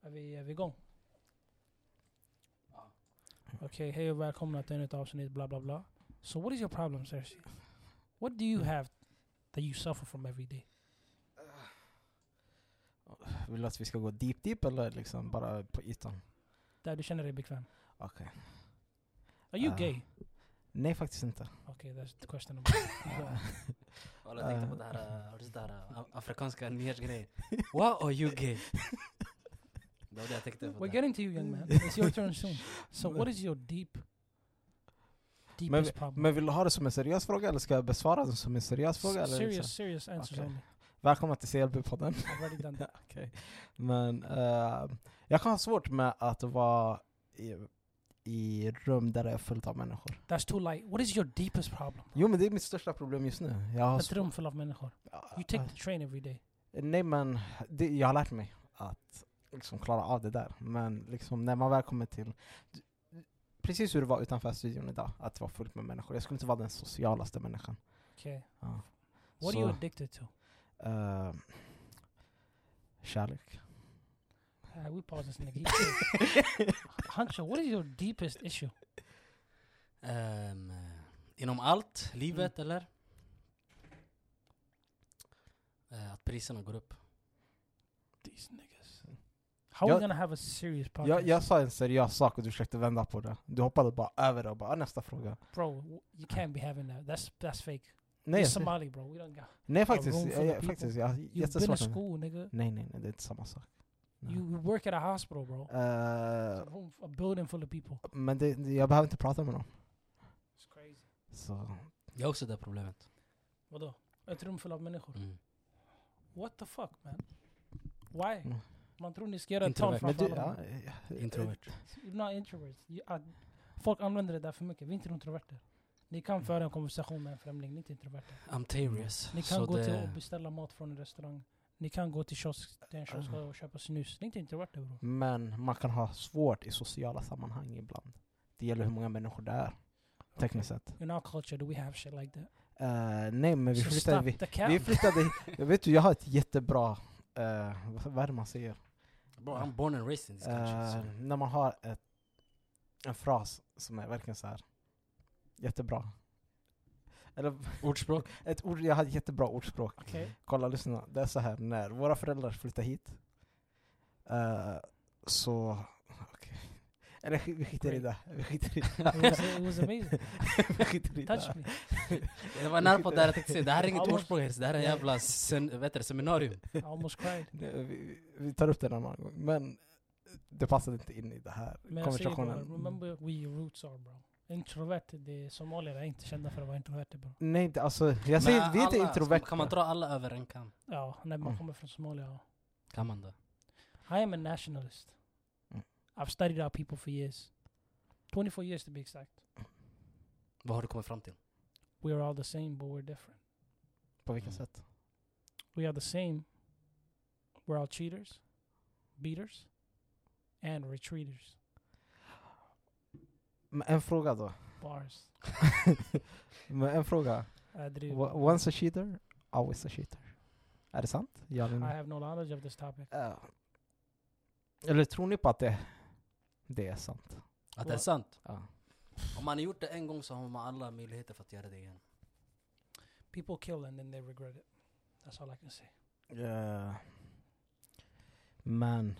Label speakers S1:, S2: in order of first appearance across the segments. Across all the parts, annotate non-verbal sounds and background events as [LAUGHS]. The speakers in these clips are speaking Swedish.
S1: Är vi, är vi igång? Okej, hej och välkomna till ett avsnitt bla bla bla. So what is your problem Cersei? What do you have that you suffer from every day?
S2: Vill du att vi ska gå deep deep eller liksom bara på ytan?
S1: Där du känner dig bekväm?
S2: Okej.
S1: Are you
S2: Ah.
S1: gay?
S2: Nej faktiskt inte.
S1: Okej, that's the question. about-
S2: [LAUGHS]
S3: Walla jag tänkte på det här, eh, har du sett det här eh, af- afrikanska nyårsgrejen? What are you gay? Det var det jag tänkte på.
S1: We're
S3: där.
S1: getting to you young man. It's your turn soon. So what is your deep
S2: Men,
S1: deepest
S2: vi-
S1: problem?
S2: men vill du ha det som en seriös fråga eller ska jag besvara den som en seriös fråga?
S1: S-
S2: Eller liksom?
S1: serious, serious answers
S2: Okej.
S1: only.
S2: Välkomna till [LAUGHS] CLB-podden.
S1: I've already done that.
S2: Okej. Men eh, jag kan ha svårt med att vara i, i rum där det är fullt av människor.
S1: That's too light. What is your deepest problem?
S2: Jo men det är mitt största problem just nu. Jag har
S1: Ett rum full av människor. You take the train every day.
S2: Nej men, det, jag har lärt mig att liksom klara av det där. Men liksom när man väl kommer till Precis hur det var utanför studion idag, att det var fullt med människor. Jag skulle inte vara den socialaste människan.
S1: Okay.
S2: Ja.
S1: What
S2: Så,
S1: are you addicted to?
S2: eh, kärlek.
S1: Ah, we pause this nigga. He
S2: [LAUGHS]
S1: killed. Huncho, what is your deepest issue?
S3: Ehm, eh, inom allt, livet eller? Eh, att priserna går upp.
S1: These niggas. How are we
S2: Jag-
S1: gonna have a serious podcast?
S2: Jag, jag sa en seriös sak och du försökte vända på det. Du hoppade bara över det och bara "Ah, nästa fråga.
S1: Bro, w- you can't be having that. That's that's fake.
S2: Nej,
S1: You're
S2: jag, ser-
S1: Somali, bro. We don't got.
S2: nej
S1: room
S2: faktiskt.
S1: full
S2: Jag,
S1: of
S2: jag,
S1: people.
S2: faktiskt jag, har
S1: You've been to
S2: jättesvårt med
S1: school, nigga.
S2: Nej nej nej, det är inte samma sak. Nej.
S1: You work at a hospital, bro.
S2: Eh,
S1: It's a, room, a building full of people.
S2: men det, jag behöver inte prata med dem.
S1: It's crazy.
S2: Så
S3: Jag har också det problemet.
S1: Vadå? Ett rum full av människor.
S3: Mm.
S1: What the fuck, man? Why?
S2: Mm.
S1: Man tror ni ska göra ett tal
S3: Introvert. Ah.
S2: Men du,
S1: framför alla.
S2: ja,
S1: människor.
S2: eh,
S3: Introvert.
S1: You're not introverts. You ah, are, folk använder det där för mycket. Vi är inte introverter. Ni kan föra en konversation med en främling, ni är inte introverter.
S3: I'm terrious.
S1: Ni kan
S3: så
S1: gå
S3: det,
S1: till och beställa mat från en restaurang. Ni kan gå till kiosk, till en kiosk och köpa snus. Ni är inte introverter bror.
S2: Men man kan ha svårt i sociala sammanhang ibland. Det gäller hur många människor det är, tekniskt sett.
S1: In our culture do we have shit like that?
S2: Eh, nej men vi
S1: so stop
S2: flyttade... Vi,
S1: the cap.
S2: vi flyttade... jag vet du, jag har ett jättebra... eh, vad- vad är det man säger?
S3: bro, I'm born and raised in this country.
S2: Eh,
S3: so-
S2: när man har ett, en fras som är verkligen så här jättebra. Eller
S3: Ordspråk.
S2: ett ord, jag har ett jättebra ordspråk.
S1: Okej.
S2: Kolla, lyssna. Det är så här, när våra föräldrar flyttade hit eh, så... Okej. Eller sk- vi skiter i det. Vi
S1: [LAUGHS]
S2: skiter i det.
S1: It, was- it was amazing.
S2: [LAUGHS] vi skiter i
S1: Touch
S2: det.
S1: me.
S3: Det var nära på det här jag tänkte säga. Det här är inget
S1: Almost.
S3: ordspråk ens. Det här är en jävla sen, vet du, seminarium.
S1: I almost cried.
S2: Nej, Vi, vi tar upp det en annan gång. Men det passade inte in i det här
S1: Men jag säger bara,
S2: konversationen.
S1: remember where your roots are bro. Introverter, det är somalier är inte kända för att vara introverter bro.
S2: Nej, det- alltså jag säger
S3: Men
S2: vi är inte
S3: alla-
S2: introverta.
S3: Kan man dra alla över en kam?
S1: Ja, när man
S2: Mm.
S1: kommer från Somalia. ja.
S3: Kan man det?
S1: I am a nationalist.
S2: Mm.
S1: I've studied our people for years. 24 years to be exact.
S3: Vad har du kommit fram till?
S1: We're all the same, but we're different.
S2: På vilka
S3: Mm.
S2: sätt?
S1: We are the same. We're all cheaters, beaters, and retreaters.
S2: Men en fråga då.
S1: Bars.
S2: Men en fråga.
S1: I, do.
S2: Wa- Once a cheater, always a cheater. Är det sant? Ja eller
S1: I
S2: nej?
S1: have no knowledge of this topic.
S2: Ja. Eller tror ni på att det, det är sant?
S3: Att det är sant?
S2: Ja.
S3: Om man har gjort det en gång så har man alla möjligheter för att göra det igen.
S1: People kill and then they regret it. That's all I can say.
S2: Eh, men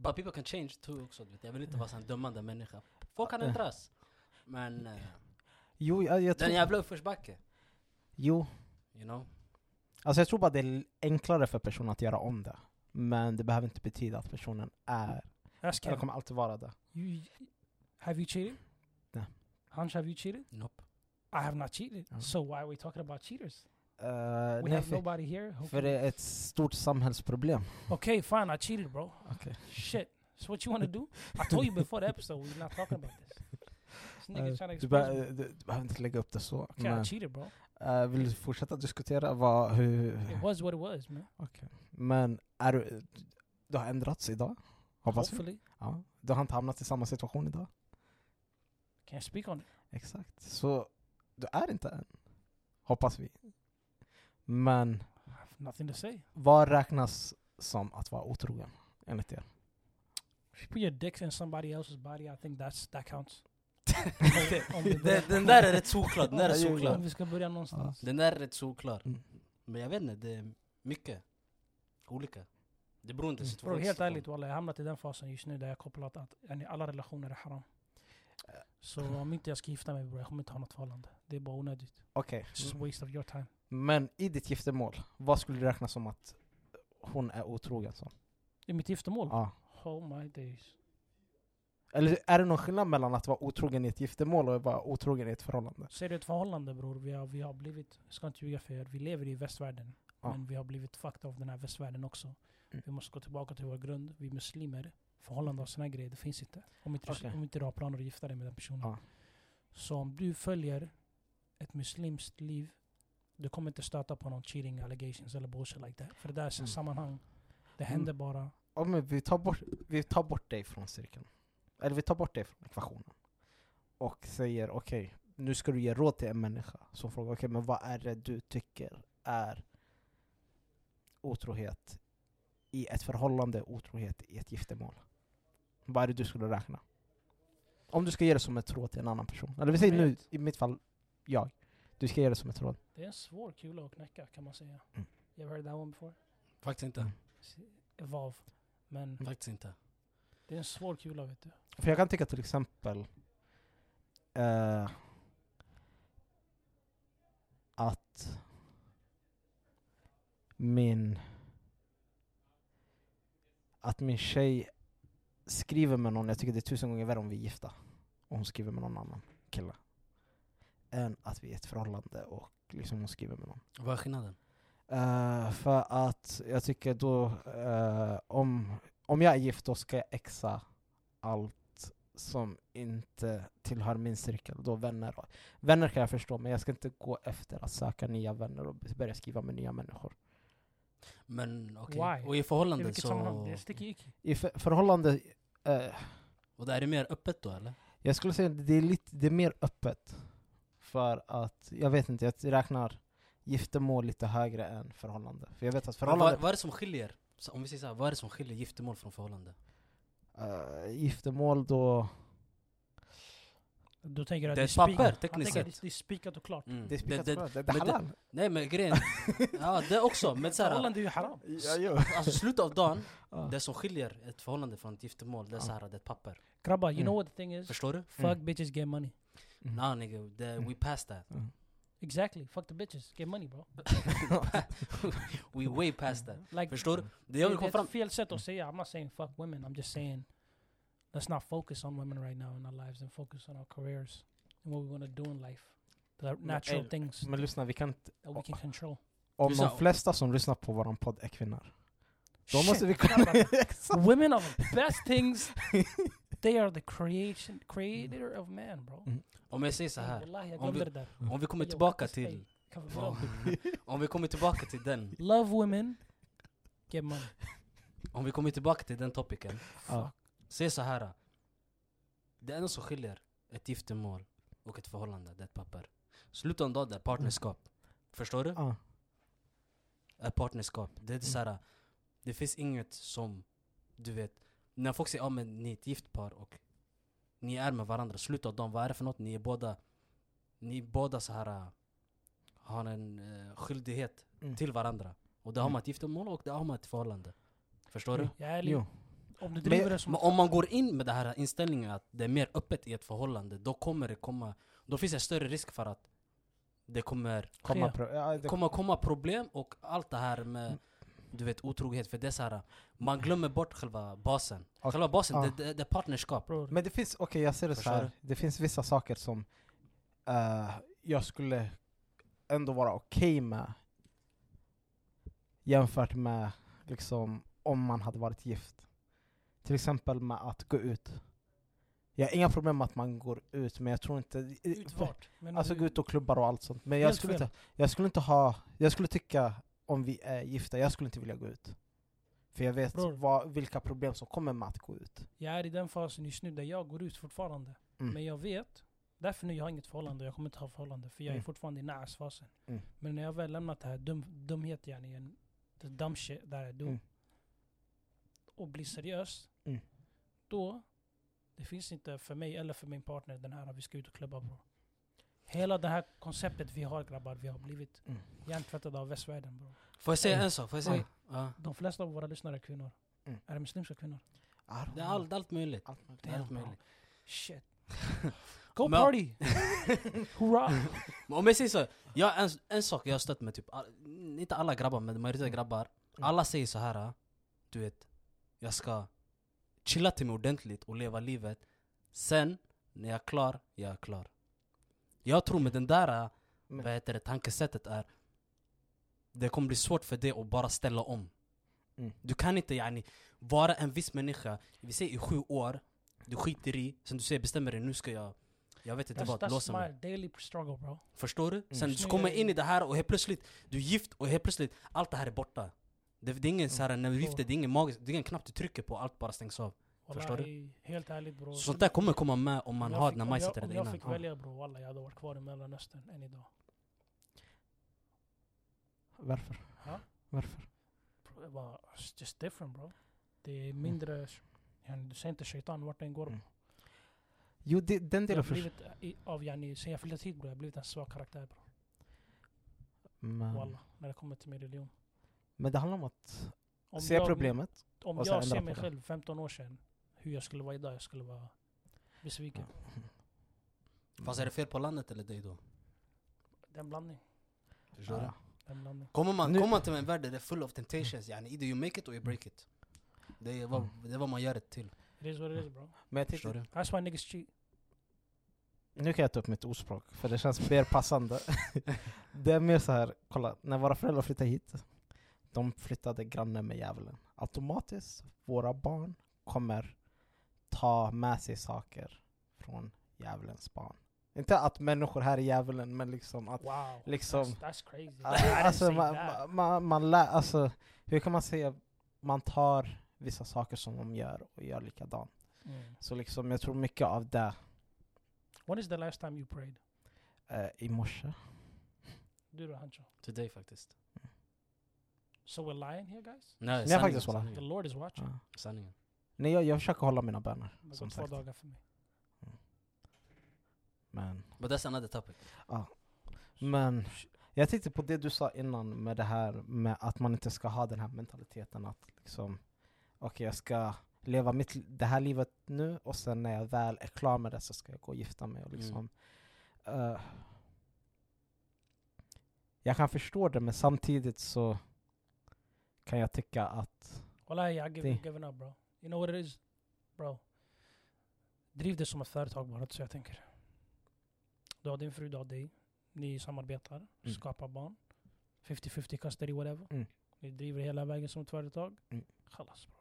S3: But people can change too också. du vet. Jag vill inte vara en dömande människa. Folk kan ändras. Men eh,
S2: jo, jag, jag
S3: den
S2: tror...
S3: jävla uppförsbacke.
S2: Jo,
S3: You know?
S2: Alltså jag tror bara det är enklare för personen att göra om det. Men det behöver inte betyda att personen är,
S1: Ask
S2: eller
S1: him.
S2: kommer alltid vara det.
S1: You, have you cheated?
S2: No. Oh.
S1: Hans, have you cheated?
S3: Nope.
S1: I have not cheated.
S2: No.
S1: So why are we talking about cheaters?
S2: Eh,
S1: we
S2: nej,
S1: have
S2: för,
S1: nobody here. who
S2: för
S1: can-
S2: det är ett stort samhällsproblem.
S1: Okay, fine. I cheated, bro.
S2: Okay.
S1: Shit. So what you want to do? I told you before the episode we're not talking about this.
S2: [LAUGHS]
S1: This nigga trying to
S2: du,
S1: expose me.
S2: be, du, du behöver inte lägga upp det så.
S1: Okay, I
S2: Men,
S1: cheated, bro.
S2: eh, vill du fortsätta diskutera vad, hur...
S1: It was what it was, man.
S2: Men är du, du har ändrats idag? Hoppas vi.
S1: Hopefully.
S2: Ja. Du har inte hamnat i samma situation idag?
S1: Can't speak on it.
S2: Exakt. Så du är inte än. Hoppas vi. Men
S1: I have nothing to say.
S2: vad räknas som att vara otrogen? enligt er?
S1: If you put your dicks in somebody else's body, I think that's, that
S3: [LAUGHS]
S1: counts. Om vi börjar-
S3: den, den där är rätt solklar, den där
S2: Ja,
S3: är
S2: ja, ja.
S1: Om
S3: solklar.
S1: vi ska börja någonstans.
S3: Den där är rätt solklar.
S2: Mm.
S3: Men jag vet inte, det är mycket. Olika. Det beror inte
S2: Mm.
S1: Bro,
S3: situation.
S1: helt ärligt walla, jag har hamnat i den fasen just nu där jag kopplat att yani, alla relationer är haram. Så om inte jag ska gifta mig bror, jag kommer inte ha något förhållande. Det är bara onödigt.
S2: Okej.
S1: It's just a waste of your time.
S2: Men i ditt giftermål, vad skulle du räkna som att hon är otrogen som?
S1: Det är mitt giftermål.
S2: Ja.
S1: Oh my days.
S2: Eller är det någon skillnad mellan att vara otrogen i ett giftermål och att vara otrogen i ett förhållande?
S1: Så är det ett förhållande bror. Vi har, vi har blivit, jag ska inte ljuga för er, vi lever i västvärlden.
S2: Ja.
S1: Men vi har blivit fucked av den här västvärlden också.
S2: Mm.
S1: Vi måste gå tillbaka till vår grund. Vi är muslimer. Förhållande och såna här grejer, det finns inte. Om inte,
S2: Okej.
S1: du, om inte du har planer att gifta dig med den personen.
S2: Ja.
S1: Så om du följer ett muslimskt liv, du kommer inte stöta på någon cheating allegations eller bullshit like that. För det där är
S2: Mm.
S1: ett sammanhang. Det
S2: Mm.
S1: händer bara.
S2: Ja, men vi, tar bort, vi tar bort dig från cirkeln. Eller vi tar bort dig från ekvationen. Och säger okej, nu ska du ge råd till en människa som frågar okej, men vad är det du tycker är otrohet i ett förhållande, otrohet i ett giftermål? Vad är det du skulle räkna? Om du ska ge det som ett råd till en annan person. Eller vi säger nu, i mitt fall, jag. Du ska ge det som ett råd.
S1: Det är en svår kula att knäcka kan man säga.
S2: Mm.
S1: You ever heard that one before?
S3: Faktiskt inte.
S2: Mm.
S1: Evolve. Men
S3: Faktiskt inte.
S1: det är en svår kula vet du.
S2: För jag kan tycka till exempel eh, att min att min tjej skriver med någon, jag tycker det är tusen gånger värre om vi är gifta och hon skriver med någon annan kille. Än att vi är i ett förhållande och liksom hon skriver med någon.
S3: Vad är skillnaden?
S2: Eh, för att jag tycker då, eh, om, om jag är gift då ska jag exa allt som inte tillhör min cirkel, då vänner. då. Vänner kan jag förstå, men jag ska inte gå efter att söka nya vänner och börja skriva med nya människor.
S3: Men okej.
S1: Why?
S3: Och i
S1: I
S3: förhållanden
S1: vilket
S3: så...
S1: sammanhang? Det är sticky icky.
S2: I för, förhållande, eh,
S3: Och där är det mer öppet då eller?
S2: jag skulle säga att det är, lite, det är mer öppet. För att, jag vet inte, jag räknar giftermål lite högre än förhållande. För jag vet att
S3: Men Vad,
S2: förhållande,
S3: vad är det som skiljer? Så om vi säger så här, vad är det som skiljer giftermål från förhållande?
S2: eh, giftermål då,
S3: Mm.
S1: Då tänker jag att
S3: Det är ett
S1: spik-
S3: papper,
S1: Han
S3: tekniskt
S1: tänker att
S3: sett.
S1: Det är spikat och klart.
S3: Mm.
S2: det är spikat
S3: det,
S2: det, det,
S3: det,
S2: det,
S3: men
S2: är
S3: det-
S2: halal.
S3: Nej
S2: [LAUGHS]
S3: men grejen, ja det också. Men så här,
S1: Förhållande är ju haram.
S2: Ja, jo.
S3: alltså slutet av dagen,
S2: [LAUGHS] Ja.
S3: det som skiljer ett förhållande från ett giftermål, det
S2: Ja.
S3: är så här, det är ett papper.
S1: Grabbar, you
S2: Mm.
S1: know what the thing is?
S3: Förstår du?
S1: Fuck bitches, get money.
S2: Mm.
S3: Nah nigga, det, we past that.
S1: Exactly, fuck the bitches, get money bro.
S3: We way past that.
S2: Mm.
S1: Like,
S3: Förstår du? Det
S1: det
S3: jag vill
S1: det
S3: komma
S1: är
S3: fram
S1: ett fel sätt att säga, I'm not saying fuck women, I'm just saying let's not focus on women right now in our lives and focus on our careers and what we want to do in life. The natural
S2: eh,
S1: things
S3: mm.
S2: Men lyssna, vi kan inte,
S1: that we can control.
S2: om
S3: Lyssna.
S2: de flesta som lyssnar på våran podd är kvinnor, då måste
S1: Shit,
S2: vi kunna...
S1: grabbar.
S2: [LAUGHS] Exakt.
S1: women are the best things. They are the creation, creator of man bro.
S2: Mm.
S3: Om jag säger så
S1: Ey,
S3: här,
S1: wallahi, jag
S3: Om vi-
S1: glömde det där.
S3: om vi kommer
S1: Ey,
S3: tillbaka
S1: ey,
S3: till...
S1: kan vi bra?
S3: Om vi kommer tillbaka till den,
S1: Love women, get money.
S3: om vi kommer tillbaka till den topicen.
S2: Ja.
S3: Säg så här. Det enda som skiljer ett giftermål och ett förhållande, det är ett papper. Slutet av dagen, det är partnerskap. Förstår du?
S2: Ja.
S3: Är eh, partnerskap. Det är så här. Det finns inget som, du vet, när folk säger att ah, men ni är ett gift par och ni är med varandra, slutet av dagen, vad är det för något? Ni är båda, ni är båda så här äh, har en eh, skyldighet
S2: Mm.
S3: till varandra. Och det har
S2: Mm.
S3: man ett giftermål och det har man ett förhållande. Förstår du?
S2: Mm.
S1: Jag är ärlig.
S2: Jo.
S1: Om du driver
S2: Men-
S1: det som...
S3: Men om man går in med den här inställningen att det är mer öppet i ett förhållande, då kommer det komma, då finns det större risk för att det kommer
S2: Komma
S1: Ja.
S2: pro- ja, det,
S3: kommer komma problem och allt det här med
S2: Mm.
S3: du vet otrohet, för det är så här, man glömmer bort själva basen.
S2: Och-
S3: Själva basen,
S2: ja.
S3: det, det, det är partnerskap.
S1: Bror,
S2: men det finns, okej jag ser det så
S3: Förstår
S2: här.
S3: du?
S2: det finns vissa saker som eh, jag skulle ändå vara okej med jämfört med liksom om man hade varit gift. Till exempel med att gå ut. Jag har inga problem med att man går ut, men jag tror inte...
S1: ut vart? Men
S2: Alltså
S1: du-
S2: gå ut och klubbar och allt sånt. Men jag
S1: Helt
S2: skulle,
S1: fel.
S2: inte, jag skulle inte ha, jag skulle tycka om vi är gifta, jag skulle inte vilja gå ut. För jag vet
S1: Bror.
S2: vad, vilka problem som kommer med att gå ut.
S1: Jag är i den fasen just nu där jag går ut fortfarande.
S2: Mm.
S1: Men jag vet, därför nu jag har inget förhållande, jag kommer inte ha förhållande. För jag är
S2: Mm.
S1: fortfarande i näsfasen.
S2: Mm.
S1: Men när jag väl lämnat det här dum, dumhet yani, en the dumb shit that I do.
S2: Mm.
S1: och blir seriös,
S2: Mm.
S1: då det finns inte för mig eller för min partner den här vi ska ut och klubba bro. Hela det här konceptet vi har grabbar, vi har blivit
S2: Mm.
S1: hjärntvättade av västvärlden bro.
S3: Får jag säga
S2: Mm.
S3: en sak? Får jag säga?
S2: Mm.
S3: Ja.
S1: De flesta av våra lyssnare är kvinnor.
S2: Mm.
S1: Är det muslimska kvinnor?
S3: Det är allt, allt möjligt.
S2: allt möjligt.
S3: Det är allt
S1: Damn, bro.
S3: möjligt.
S2: [LAUGHS]
S1: Shit. Go
S3: Men-
S1: party! Hurra!
S3: Men om jag säger så, jag, en, en sak jag har stött med typ, all- inte alla grabbar men majoriteten av grabbar.
S2: Mm.
S3: Alla säger så här, du vet, jag ska chilla till mig ordentligt och leva livet. Sen, när jag är klar, jag är klar. Jag tror med den där,
S2: Men-
S3: vad heter det, tankesättet är, det kommer bli svårt för dig att bara ställa om.
S2: Mm.
S3: Du kan inte yani, vara en viss människa, vi säger i sju år, du skiter i, sen du säger bestämmer dig, nu ska jag, jag vet inte
S1: That's,
S3: vad,
S1: that's
S3: låsa mig.
S1: my daily struggle bro.
S3: Förstår du? Sen du
S1: Snygga
S3: kommer
S1: grejer.
S3: in i det här och helt plötsligt, du är gift och helt plötsligt, allt det här är borta. Det, det är ingen så här, när du
S1: Så.
S3: gifter, det är ingen magisk, det är ingen knapp du trycker på, allt bara stängs av. Förstår du?
S1: Wallahi, Helt ärligt bro.
S3: Så sånt där kommer komma med om
S1: Om
S3: man
S1: Mm. jag
S3: har
S1: fick-
S3: när
S1: om
S3: man
S1: jag-
S3: sätter det
S1: Om jag
S3: innan.
S1: fick
S3: Ja.
S1: välja bro, alla jag hade varit kvar i Mellanöstern än idag.
S2: Varför?
S1: Ja.
S2: Varför?
S1: Bro, det var it's just different bro. Det är mindre, yani, du säger inte shaitan vart den går.
S2: Mm. Jo, det, den
S1: Jag har
S2: delen först.
S1: blivit, eh, i, av yani, sen jag flyttade hit bro, jag har blivit en svag karaktär bro.
S2: Men, Mm.
S1: Wallah, när det kommer till min religion.
S2: men det handlar om att
S1: Om
S2: se
S1: jag,
S2: problemet.
S1: Om
S2: och sen
S1: jag
S2: ändra
S1: ser
S2: på
S1: mig
S2: det.
S1: själv 15 år sedan, hur jag skulle vara idag, jag skulle vara besviken.
S2: Mm.
S3: Fast är det fel på landet eller dig då?
S1: Det är en blandning.
S3: Förstår du?
S2: Ja.
S1: Det är en blandning.
S3: Kommer man,
S2: Nu-
S3: kommer man till en värld där det är full of temptations, yani, either you make it or you break it. Det är vad, det är vad man gör det till.
S1: It is what it
S2: Mm.
S1: is bro.
S2: Men jag
S3: Förstår
S2: tänkte,
S3: du?
S1: That's why niggas cheat.
S2: nu kan jag ta upp mitt ordspråk, för det känns mer passande. [LAUGHS] det är mer så här, kolla, när våra föräldrar flyttade hit, de flyttade grannen med djävulen. Automatiskt, våra barn kommer ta med sig saker från djävulens barn. Inte att människor här är djävulen, men liksom att
S1: Wow.
S2: liksom...
S1: That's, that's crazy. I didn't
S2: Alltså,
S1: say
S2: man,
S1: that.
S2: man, man, man lär, alltså, hur kan man säga man tar vissa saker som de gör och gör likadant?
S1: Mm.
S2: Så liksom, jag tror mycket av det
S1: When is the last time you prayed?
S2: eh, i morse.
S1: Du då Hancho?
S3: Till dig faktiskt.
S1: So we're lying here guys?
S3: Nej,
S2: Nej,
S3: sanningen,
S2: faktiskt, wallah.
S1: The
S3: sanningen,
S1: Lord is watching.
S2: Ja.
S3: sanningen.
S2: Nej, jag, jag försöker hålla mina böner,
S1: Det går
S2: som
S1: två
S2: sagt.
S1: dagar för mig.
S2: Men,
S3: But that's another topic.
S2: men jag tänkte på det du sa innan med det här med att man inte ska ha den här mentaliteten att liksom, okej jag ska leva mitt, li- det här livet nu och sen när jag väl är klar med det så ska jag gå och gifta mig
S1: Mm.
S2: och liksom eh, Jag kan förstå det men samtidigt så kan jag tycka att
S1: Wallahi, I give,
S2: Det-
S1: given up bro. You know what it is? Bro. Driv det som ett företag bara, så jag tänker. Du har din fru, du har dig. Ni samarbetar,
S2: Mm.
S1: skapar barn. 50-50 custody, whatever.
S2: Mm.
S1: Ni driver hela vägen som ett företag.
S2: Mm.
S1: Chalas bro.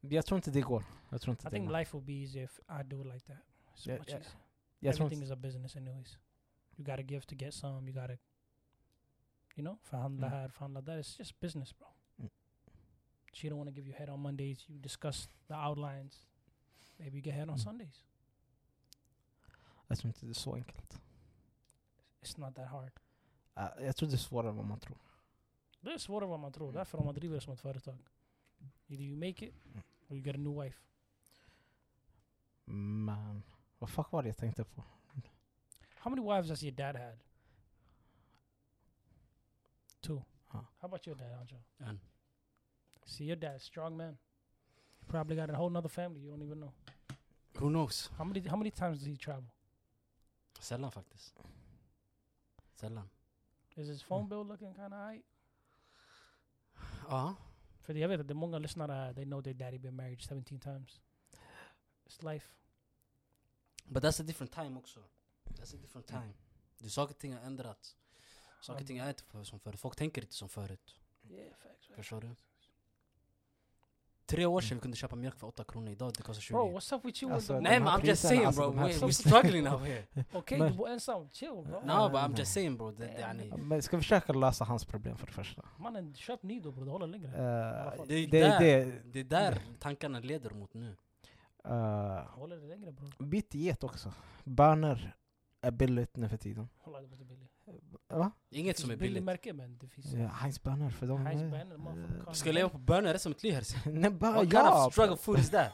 S2: jag tror inte det går. Jag tror inte
S1: I
S2: det
S1: think
S2: går.
S1: life would be easier if I do it like that. It's
S2: Yeah,
S1: much
S2: yeah.
S1: easier.
S2: Jag tror
S1: Everything is
S2: inte,
S1: a business anyways. You gotta give to get some, you gotta you know, förhandla
S2: Mm.
S1: här, förhandla där. It's just business bro.
S2: Mm.
S1: She don't want to give you head on Mondays. You discuss the outlines. Maybe you get head on
S2: Mm.
S1: Sundays.
S2: jag tror inte det är så enkelt.
S1: It's not that hard.
S2: Eh, jag tror det är svårare än vad man tror.
S1: Det är svårare än vad man
S2: Mm.
S1: tror. Därför om man driver det som ett företag. Either you make it
S2: Mm.
S1: or you get a new wife.
S2: Men vad fuck var det jag tänkte på?
S1: How many wives has your dad had? Two.
S2: Huh.
S1: How about your dad, Anjo?
S3: And
S1: See, your dad's strong man. He probably got a whole nother family you don't even know.
S3: who knows?
S1: How many how many times does he travel?
S3: Sällan faktiskt. Sällan.
S1: Is his phone bill looking kind of high?
S3: Ja.
S1: För jag vet att det är många lyssnare här, uh, they know their daddy been married 17 times. It's life.
S3: But that's a different time också. That's a different time. Du, saker och ting har ändrats. Saker och ting är inte för- som förut. Folk tänker inte som förut.
S1: Yeah, facts. facts.
S3: Förstår du? Tre år sedan vi kunde köpa mjölk för 8 kronor, idag det kostar 20.
S1: Bro, what's up with you?
S2: Alltså,
S1: and the-
S3: Nej
S2: de
S3: men
S2: här
S3: I'm just
S2: priserna,
S3: saying
S2: alltså,
S3: bro,
S2: de här
S3: we, we're
S2: priserna.
S3: struggling out
S2: [LAUGHS]
S3: here.
S1: Okej,
S2: men-
S1: du bor ensam. Chill bro.
S3: No but I'm just saying bro, det, det, är ni-
S2: Ja, Men jag ska försöka lösa hans problem för det första.
S1: Mannen, köp Nido bror. Det håller längre.
S2: Eh,
S1: fall.
S3: det, är
S2: det är
S3: där, det.
S2: det.
S3: är där tankarna leder mot nu.
S1: Det
S2: eh,
S1: håller det längre bror.
S2: byt diet också. Bönor är billigt nu för tiden.
S1: Hålla det på det billigt.
S2: Va?
S3: Inget som är billigt.
S1: märke men det finns...
S2: Ja, Heinz Bönner för dem.
S1: Heinz
S2: eh,
S1: Brenner, motherfucker,
S3: Du
S1: Carl
S3: ska leva
S1: Brenner.
S3: på bönor resten av mitt liv Herse.
S2: Nej, bara
S3: What kind
S2: ja!
S3: of struggle food is that?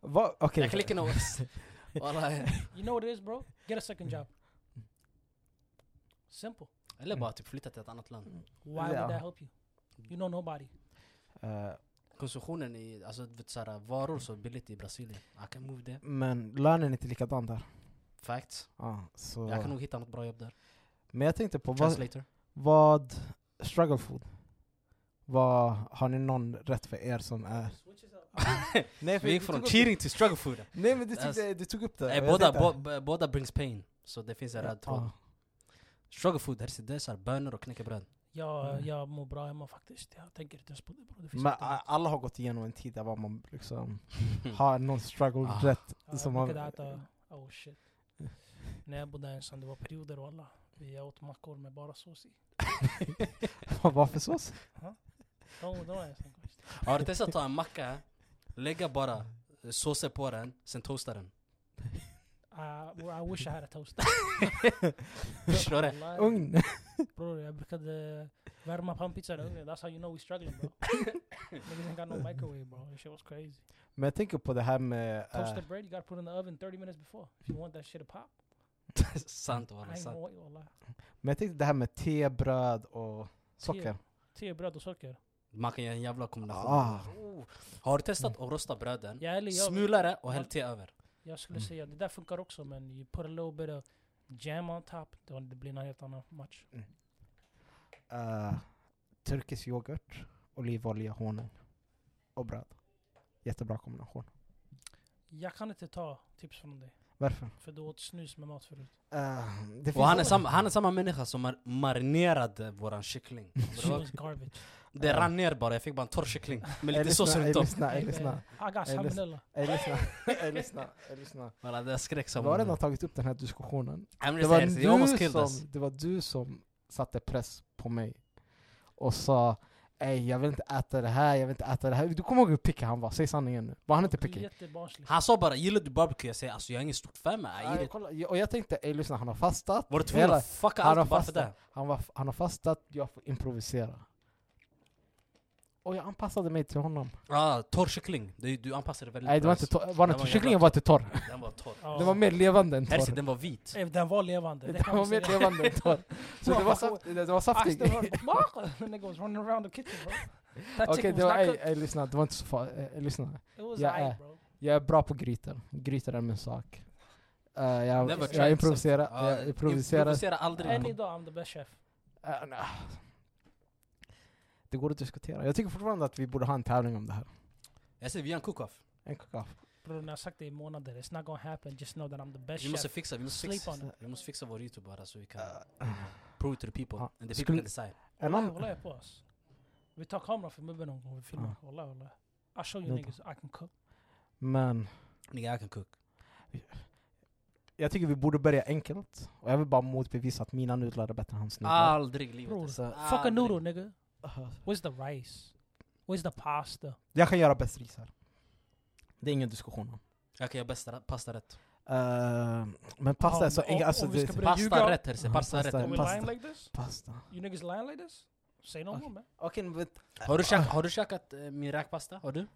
S2: Va? Okej.
S3: Jag kan lika gärna...
S2: [LAUGHS]
S3: Wallah,
S1: You know what it is bro? Get a second job. Simple.
S3: Eller bara typ flytta till ett annat land.
S1: Why
S2: Ja.
S1: would that help you? You know nobody.
S2: Eh,
S3: Konsumtionen i, alltså vet, så här, varor så billigt i Brasilien. I can move there.
S2: men lönen är inte likadan där.
S3: Facts.
S2: Ja, så.
S3: Jag kan nog hitta något bra jobb där.
S2: Men jag tänkte på, vad,
S3: Translator.
S2: vad struggle food? Vad, har ni någon rätt för er som är... Nej,
S3: Vi gick från cheating till struggle food.
S2: Nej men du
S3: Alltså,
S2: tog, du tog upp det.
S3: Nej,
S2: och jag
S3: båda,
S2: tänkte-
S3: bo, b- båda brings pain. Så det finns en röd tråd.
S2: Ja.
S3: Struggle food, Herse, det är såhär bönor och knäckebröd.
S1: Jag,
S2: Mm.
S1: jag mår bra hemma faktiskt. Jag tänker inte ens på det bro. Det finns
S2: Men
S1: inte annat.
S2: a- alla har gått igenom en tid där var man liksom har någon struggle
S3: Mm. Ah.
S2: rätt. [LAUGHS]
S1: Ja,
S2: som
S1: jag
S2: man-
S1: brukade äta, oh
S3: [LAUGHS]
S1: shit. När jag bodde ensam, det var perioder och alla. Vi åt mackor med bara sås i.
S2: Varför sås?
S1: De, de var ensam.
S3: [LAUGHS] Har du testat att ta en macka, lägga bara eh, såser på den, sen toasta den?
S1: Uh, well, I wish I had a toast.
S3: [LAUGHS] Förstår du?
S1: Wallahi,
S2: Ugn? [LAUGHS]
S1: Bror, jag brukade värma pannpizzan i ugnen. That's how you know we struggling
S3: [LAUGHS]
S1: bro. Niggas ain't got no microwave bro. This shit was crazy.
S2: Men jag tänker på det här med...
S3: Ah.
S2: eh,
S1: Toasted bread you gotta put in the oven 30 minutes before. If you want that shit to pop.
S3: sant
S1: I
S3: walla,
S1: ain't gonna
S3: sant.
S1: wait wallah.
S2: men jag tänkte det här med te, bröd och socker.
S1: Te, bröd och socker.
S3: Man kan göra en jävla kombination.
S2: Ah.
S3: Oh. Har du testat att rosta bröden,
S1: Ja, eller jag,
S3: smula det och häll te över?
S1: jag skulle
S2: Mm.
S1: säga, det där funkar också men you put a little bit of jam on top. Då det blir en helt annan match.
S2: eh, turkisk yoghurt, olivolja, honung och bröd. Jättebra kombination.
S1: Jag kan inte ta tips från dig.
S2: Varför?
S1: För du åt snus med mat förut.
S2: Eh, det
S3: Och han är,
S2: finns-
S3: samma, han är samma människa som mar- marinerade våran kyckling.
S1: She was garbage.
S3: Det rann ner bara, jag fick bara en torr kyckling
S2: [LAUGHS]
S3: med
S2: Ey,
S3: lite sås
S2: Eh, lyssna, ey,
S3: runt om.
S2: Lyssna, ey,
S1: Hey,
S2: lyssna.
S1: man, I got
S2: Hey, listen.
S1: salmonella.
S2: Ey, lyssna. Ey, lyssna. Ey, lyssna.
S3: Walla, Det skrek
S2: Vi
S3: [LAUGHS] som...
S2: har redan tagit upp den här diskussionen.
S3: I'm
S2: Det
S3: just
S2: var,
S3: saying, you almost
S2: du
S3: killed us.
S2: som, det var du som satte press på mig och sa Ey, jag vill inte äta det här, jag vill inte äta det här. Du kommer ihåg hur picky han var? Säg sanningen nu. Var han inte
S1: Du är
S2: picky?
S1: jättebarnslig.
S3: Han sa bara 'Gillar du barbecue?' Jag säger alltså jag är ingen stort fan med
S2: Ja,
S3: I eat it.
S2: kolla, och jag tänkte, ey lyssna, han har fastat.
S3: Var du tvungen
S2: Hela-
S3: att fucka
S2: Han har
S3: allt bara för
S2: fastat,
S3: det?
S2: han, var, han har fastat, jag får improvisera. Och jag anpassade mig till honom.
S3: Ah, torr kyckling. Du, du anpassade dig väldigt
S2: Nej, det var
S3: bra.
S2: inte torr. Var
S3: Det
S2: det
S3: var en
S2: kycklingen
S3: jävla-
S2: var inte torr.
S3: Den var torr.
S1: Ja.
S2: Den var mer levande än
S3: Herse,
S2: torr.
S3: den var vit.
S1: Eh, Den var levande. Det
S2: Den
S1: kan vi
S2: var mer
S1: säga.
S2: levande än torr. Så det var, saft, det var
S1: I
S2: saftig.
S1: still heard the nigga was running around the kitchen bro. That
S2: Okej,
S1: chicken
S2: det
S1: was
S2: var,
S1: not
S2: ey,
S1: cooked.
S2: ey, lyssna, det var inte så farligt. Ey, lyssna.
S1: It was
S2: Ja,
S1: aight
S2: eh.
S1: bro.
S2: Jag är bra på grytor. Grytor är min sak. Eh, jag,
S3: Never
S2: jag
S3: tried
S2: improviserar.
S3: something. Ah,
S2: jag improviserar.
S3: Improvisera aldrig.
S1: Än idag, I'm the best chef.
S2: Eh, nej. det går att diskutera. Jag tycker fortfarande att vi borde ha en tävling om det här.
S3: Jag säger vi gör en cook-off.
S2: En kaka.
S1: Bror, när jag sagt det i månader, it's not gonna happen. Just know that I'm the best
S3: Vi måste
S1: chef.
S3: fixa, vi måste
S1: Sleep
S3: fixa.
S1: on it.
S3: Vi måste fixa vår youtube bara så vi
S2: Eh,
S3: kan prove it to the people.
S2: Ja.
S3: And the people
S2: Skulle-
S3: can decide.
S2: En
S1: Wallah,
S2: annan...
S1: wallah er på oss. Vi tar kameran för mubben någon gång och vi filmar.
S2: Ah.
S1: Wallah, wallah. I show you
S2: Vänta.
S1: niggas I can cook.
S2: Men
S3: Nigga I can cook.
S2: jag tycker vi borde börja enkelt. Och jag vill bara motbevisa att mina nudlar är bättre än hans nudlar.
S3: Aldrig i livet.
S1: Bror,
S3: alltså.
S1: fuck a
S3: Aldrig.
S1: noodle nigga. Where's the rice? Where's the pasta?
S2: Jag kan göra bäst ris här. Det är ingen diskussion om.
S3: Jag kan göra bästa pasta rätt.
S2: Eh, men pasta är så
S1: Ja,
S2: enkelt.
S1: om-
S2: Alltså,
S1: Ah, om vi
S2: det-
S1: ska börja- Bro, you
S3: Pasta
S1: got-
S3: rätt Herse,
S2: Ja,
S3: pasta
S2: pasta.
S1: Are
S3: rätt.
S1: we
S2: pasta.
S1: lying like this?
S2: pasta.
S1: You niggas lying like this? Say no
S2: Okej.
S1: more man.
S2: Okej, men...
S3: Har du, käk, har du käkat eh, min räkpasta? Har du?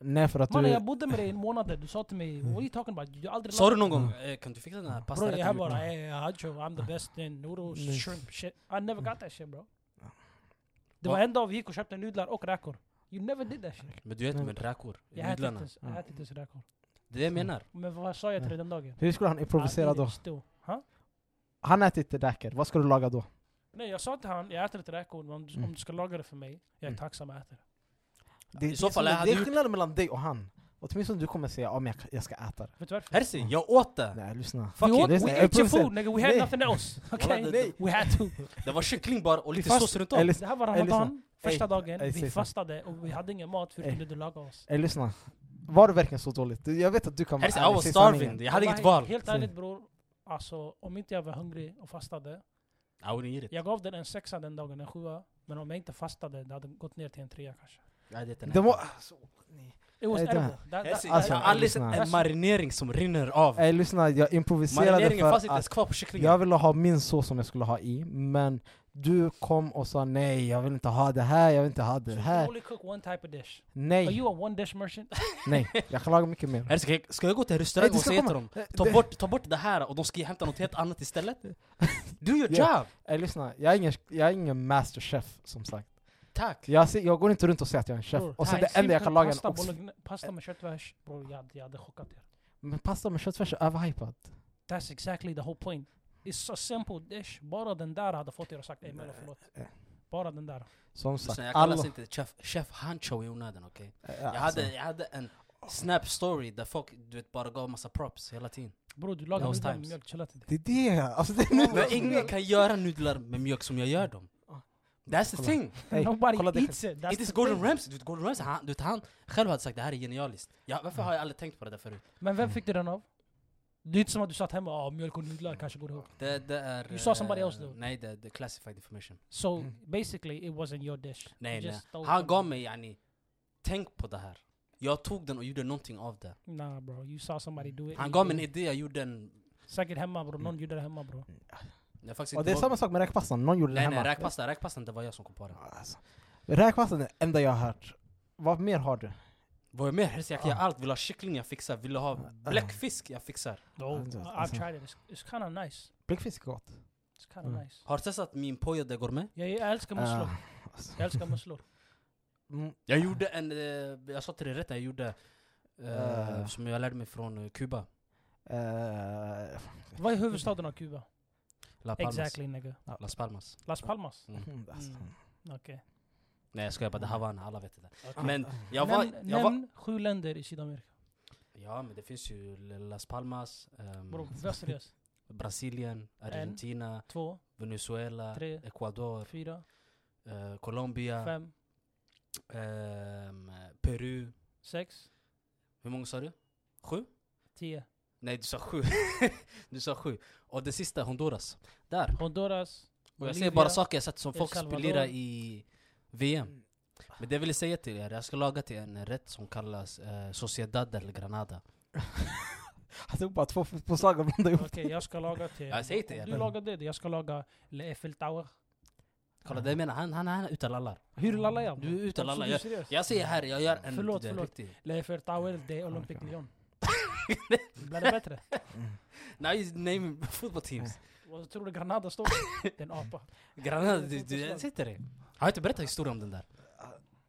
S2: Nej, för att
S1: Mannen
S2: du...
S1: jag bodde med dig i en månad, du sa till mig what are you talking about? Du har aldrig
S3: Sa du någon gång eh, kan du fixa den här
S1: Bro,
S3: pastarätten?
S1: jag här
S3: vi
S1: bara
S3: gjorde?
S1: hey, Hacho, I'm the best in noodles,
S2: Nej.
S1: shrimp, shit. I never got that shit bro. Det
S3: Va?
S1: var en dag vi gick och köpte nudlar och räkor. You never did that shit.
S3: Men du äter
S2: Mm.
S3: med räkor.
S1: Jag äter inte
S3: Nudlarna.
S1: ens- jag äter inte ens räkor.
S3: Det är det jag menar.
S2: Mm.
S1: Men vad sa jag till dig den dagen?
S2: Hur skulle han improvisera
S1: Ah,
S2: då?
S1: Idiot, stor. Ha?
S2: Han äter inte räkor. Vad ska du laga då?
S1: Nej jag sa till han, jag äter inte räkor, men om, du- om du ska laga det för mig, jag är
S2: Mm.
S1: tacksam att äta det.
S2: Det,
S3: I så fall
S2: det,
S3: jag
S2: är som-
S3: hade
S2: det är
S3: gjort-
S2: skillnaden mellan dig och han. Åtminstone du kommer säga om jag, jag ska äta det.
S1: Vet du varför?
S3: Herse, jag åt det!
S2: Nej, lyssna.
S3: Fuck
S1: we,
S3: it,
S1: want,
S2: det är så-
S1: we
S2: jag
S1: ate your
S2: provocerar.
S1: food nigga, we had
S2: Nej.
S1: nothing
S2: [LAUGHS]
S1: else.
S3: Walla, det-
S1: Okay? We had to.
S3: Det var kyckling bara och lite
S1: Fast-
S3: sås runt
S2: Eller,
S3: om.
S1: Det här var
S2: Ey, lyssna.
S1: Ramadan, första
S2: Ey,
S1: dagen,
S2: ey,
S1: vi
S2: säg så.
S1: fastade och vi hade ingen mat förutom
S2: Ey.
S1: det du lagade oss.
S2: eller lyssna. Var det verkligen så dåligt? Du- Jag vet att du kan
S3: Herse, I
S2: ärlig,
S3: was
S2: säg sanningen.
S3: starving, jag hade inget
S1: Wallahi,
S3: val.
S1: Helt
S2: Säg.
S1: ärligt bror, alltså om inte jag var hungrig och fastade.
S3: I wouldn't eat it.
S1: Jag gav den en sexa den dagen, en sjua. Men om jag inte fastade, det hade gått ner till en trea kanske.
S3: Jag hade ätit den
S2: Det
S3: här.
S2: var... Alltså, nej.
S1: It was
S2: Hey, Dan.
S1: edible. That, that,
S3: Alltså,
S2: alltså,
S3: jag har aldrig sett
S2: lyssna.
S3: en marinering som rinner av.
S2: Ey lyssna, jag improviserade
S3: Marineringen fanns
S2: för
S3: inte ens
S2: att
S3: kvar på kycklingen.
S2: jag ville ha min sås som jag skulle ha i, men du kom och sa nej, jag vill inte ha det här, jag vill inte ha
S1: so
S2: det
S1: you can
S2: här.
S1: only cook one type of dish. Are
S2: Nej,
S1: you a one dish merchant?
S2: nej, jag kan laga mycket mer.
S3: Eller ska, jag, ska jag gå till en
S2: Ey,
S3: restaurang
S2: du
S3: och
S2: ska
S3: säga
S2: komma.
S3: till dem ta bort, ta bort det här och de ska hämta något helt
S2: [LAUGHS]
S3: annat istället? Do your
S2: Ja.
S3: job!
S2: Ey lyssna, jag är ingen, jag är ingen masterchef som sagt.
S3: Tack!
S2: Jag, ser, jag går inte runt och säger att jag är en chef,
S1: Bror,
S2: och sen
S1: en
S2: det enda jag
S1: simpel
S2: kan laga är
S1: pasta,
S2: en ost.
S1: bologne- Pasta med köttfärs, bror jag, hade- jag hade chockat er.
S2: Men pasta med köttfärs är överhypad.
S1: That's exactly the whole point. It's a simple dish. Bara den där hade fått er att sagt ey
S3: Eh,
S1: mellan förlåt.
S2: Nej.
S1: Bara den där.
S2: Som
S3: Lyssna,
S2: sagt,
S3: Alltså, Jag
S2: Alltså, alla...
S3: kallas inte chef, chef Hancho i onödan, okej?
S2: Eh,
S3: Jag
S2: alltså,
S3: hade, jag hade en snap story där folk du vet, bara gav massa props hela tiden.
S1: Bror du lagar
S3: Those
S1: nudlar med
S3: times.
S1: mjölk, chilla till det.
S2: Det är det! Alltså det är
S3: Men
S2: nu!
S3: ingen kan göra nudlar med mjölk som jag gör dem. That's the
S2: Kolla.
S3: thing!
S2: Ey,
S1: Nobody
S2: kolla det.
S1: eats it. That's
S3: Inte ens
S1: the
S3: Gordon
S1: thing.
S3: Ramsay. Du vet, Gordon Ramsay, han, du vet, han själv hade sagt det här är genialiskt. Ja, varför har jag aldrig tänkt på det där förut?
S1: Men vem fick du den av? Det är inte som att du satt hemma och mjölk och nudlar kanske går ihop.
S3: Det, det är...
S1: You saw
S3: eh,
S1: somebody else do it.
S3: Nej, det, det är classified information.
S1: So
S2: Mm.
S1: basically it wasn't your dish.
S3: Nej,
S1: You
S3: nej.
S1: just stole
S3: Han
S1: from-
S3: gav mig yani, tänk på det här. Jag tog den och gjorde någonting av det.
S1: Nah bro, you saw somebody do it.
S3: Han
S1: You
S3: gav
S1: did
S3: mig en
S1: it.
S3: idé, jag gjorde en... Mm.
S1: Säkert hemma bror, någon gjorde det hemma bror.
S3: Jag faktiskt
S2: Och
S3: inte
S2: det är
S3: var-
S2: samma sak med räkpastan, någon gjorde
S3: Nej
S2: den
S3: nej,
S2: hemma.
S3: räkpasta, räkpastan det var jag som kom på den.
S2: Alltså, räkpastan är det enda jag har hört. Vad mer har du?
S3: Vad är mer? Helst jag kan göra
S2: Ah.
S3: allt. Vill ha kyckling, jag fixar. Vill ha bläckfisk, jag fixar.
S1: No,
S2: Alltså,
S1: I've
S2: alltså.
S1: tried it. It's, it's kind of nice.
S2: Bläckfisk är gott.
S1: It's kind of
S2: Mm.
S1: nice.
S3: Har du testat min pollo de gourmet?
S1: Jag, jag älskar musslor.
S2: Ah, alltså,
S1: Jag älskar musslor.
S2: mm,
S3: Jag gjorde en... Eh, jag sa till dig rätt, jag gjorde... Eh,
S2: Eh.
S3: Som jag lärde mig från eh, Kuba.
S2: eh,
S1: Vad är huvudstaden av Kuba?
S3: La Palmas. Ah.
S1: Exactly nigga.
S3: Las Palmas.
S1: Las Palmas?
S2: mm, alltså.
S1: Mm. Okej.
S3: Nej jag skojar bara, det är Havana, alla vet det.
S1: Okej.
S3: Men jag var...
S1: Nämn,
S3: jag var
S1: nämn sju länder i Sydamerika.
S3: ja men det finns ju Las Palmas, ehm,
S1: Bror, var seriös.
S3: Brasilien, Argentina,
S1: Två,
S3: Venezuela,
S1: tre,
S3: Ecuador,
S1: fyra,
S3: eh, Colombia,
S1: fem,
S3: ehm, Peru.
S1: sex,
S3: Hur många sa du? Sju?
S1: tio.
S3: Nej, du sa sju. [LAUGHS] du sa sju. Och det sista, Honduras. Där.
S1: Honduras.
S3: Och jag
S1: Bolivia,
S3: ser bara saker jag sett som
S1: El
S3: folk
S1: Salvador. Mm.
S3: spolierar i VM. Men det vill jag säga till er, jag ska laga till en rätt som kallas eh, Sociedad del Granada.
S2: Jag tog Alltså, bara två fotbollslag och blandade
S1: Okej,
S2: ihop.
S1: jag ska laga till...
S3: Jag säger till
S1: Om
S3: er.
S1: Du lagar det, jag ska laga Le Eiffel Tower.
S3: Kolla
S1: Ah.
S3: det jag menar, han, han, han är ute och lallar.
S1: Hur lallar jag?
S3: Ah. Du är ute och lallar.
S1: Jag,
S3: Jag,
S1: seriös.
S3: jag säger här, jag gör en
S1: Förlåt,
S3: det är
S1: förlåt.
S3: riktig.
S1: Le Eiffel Tower, det är Olympic
S3: Oh
S2: Okej.
S1: Lyon. Blir det bättre?
S3: Now you name [LAUGHS]
S1: [LAUGHS]
S3: football teams.
S1: Vad tror du Granada står? Det är en apa.
S3: Granada, du, du, jag säger till dig. Har jag inte berättat historien om den där?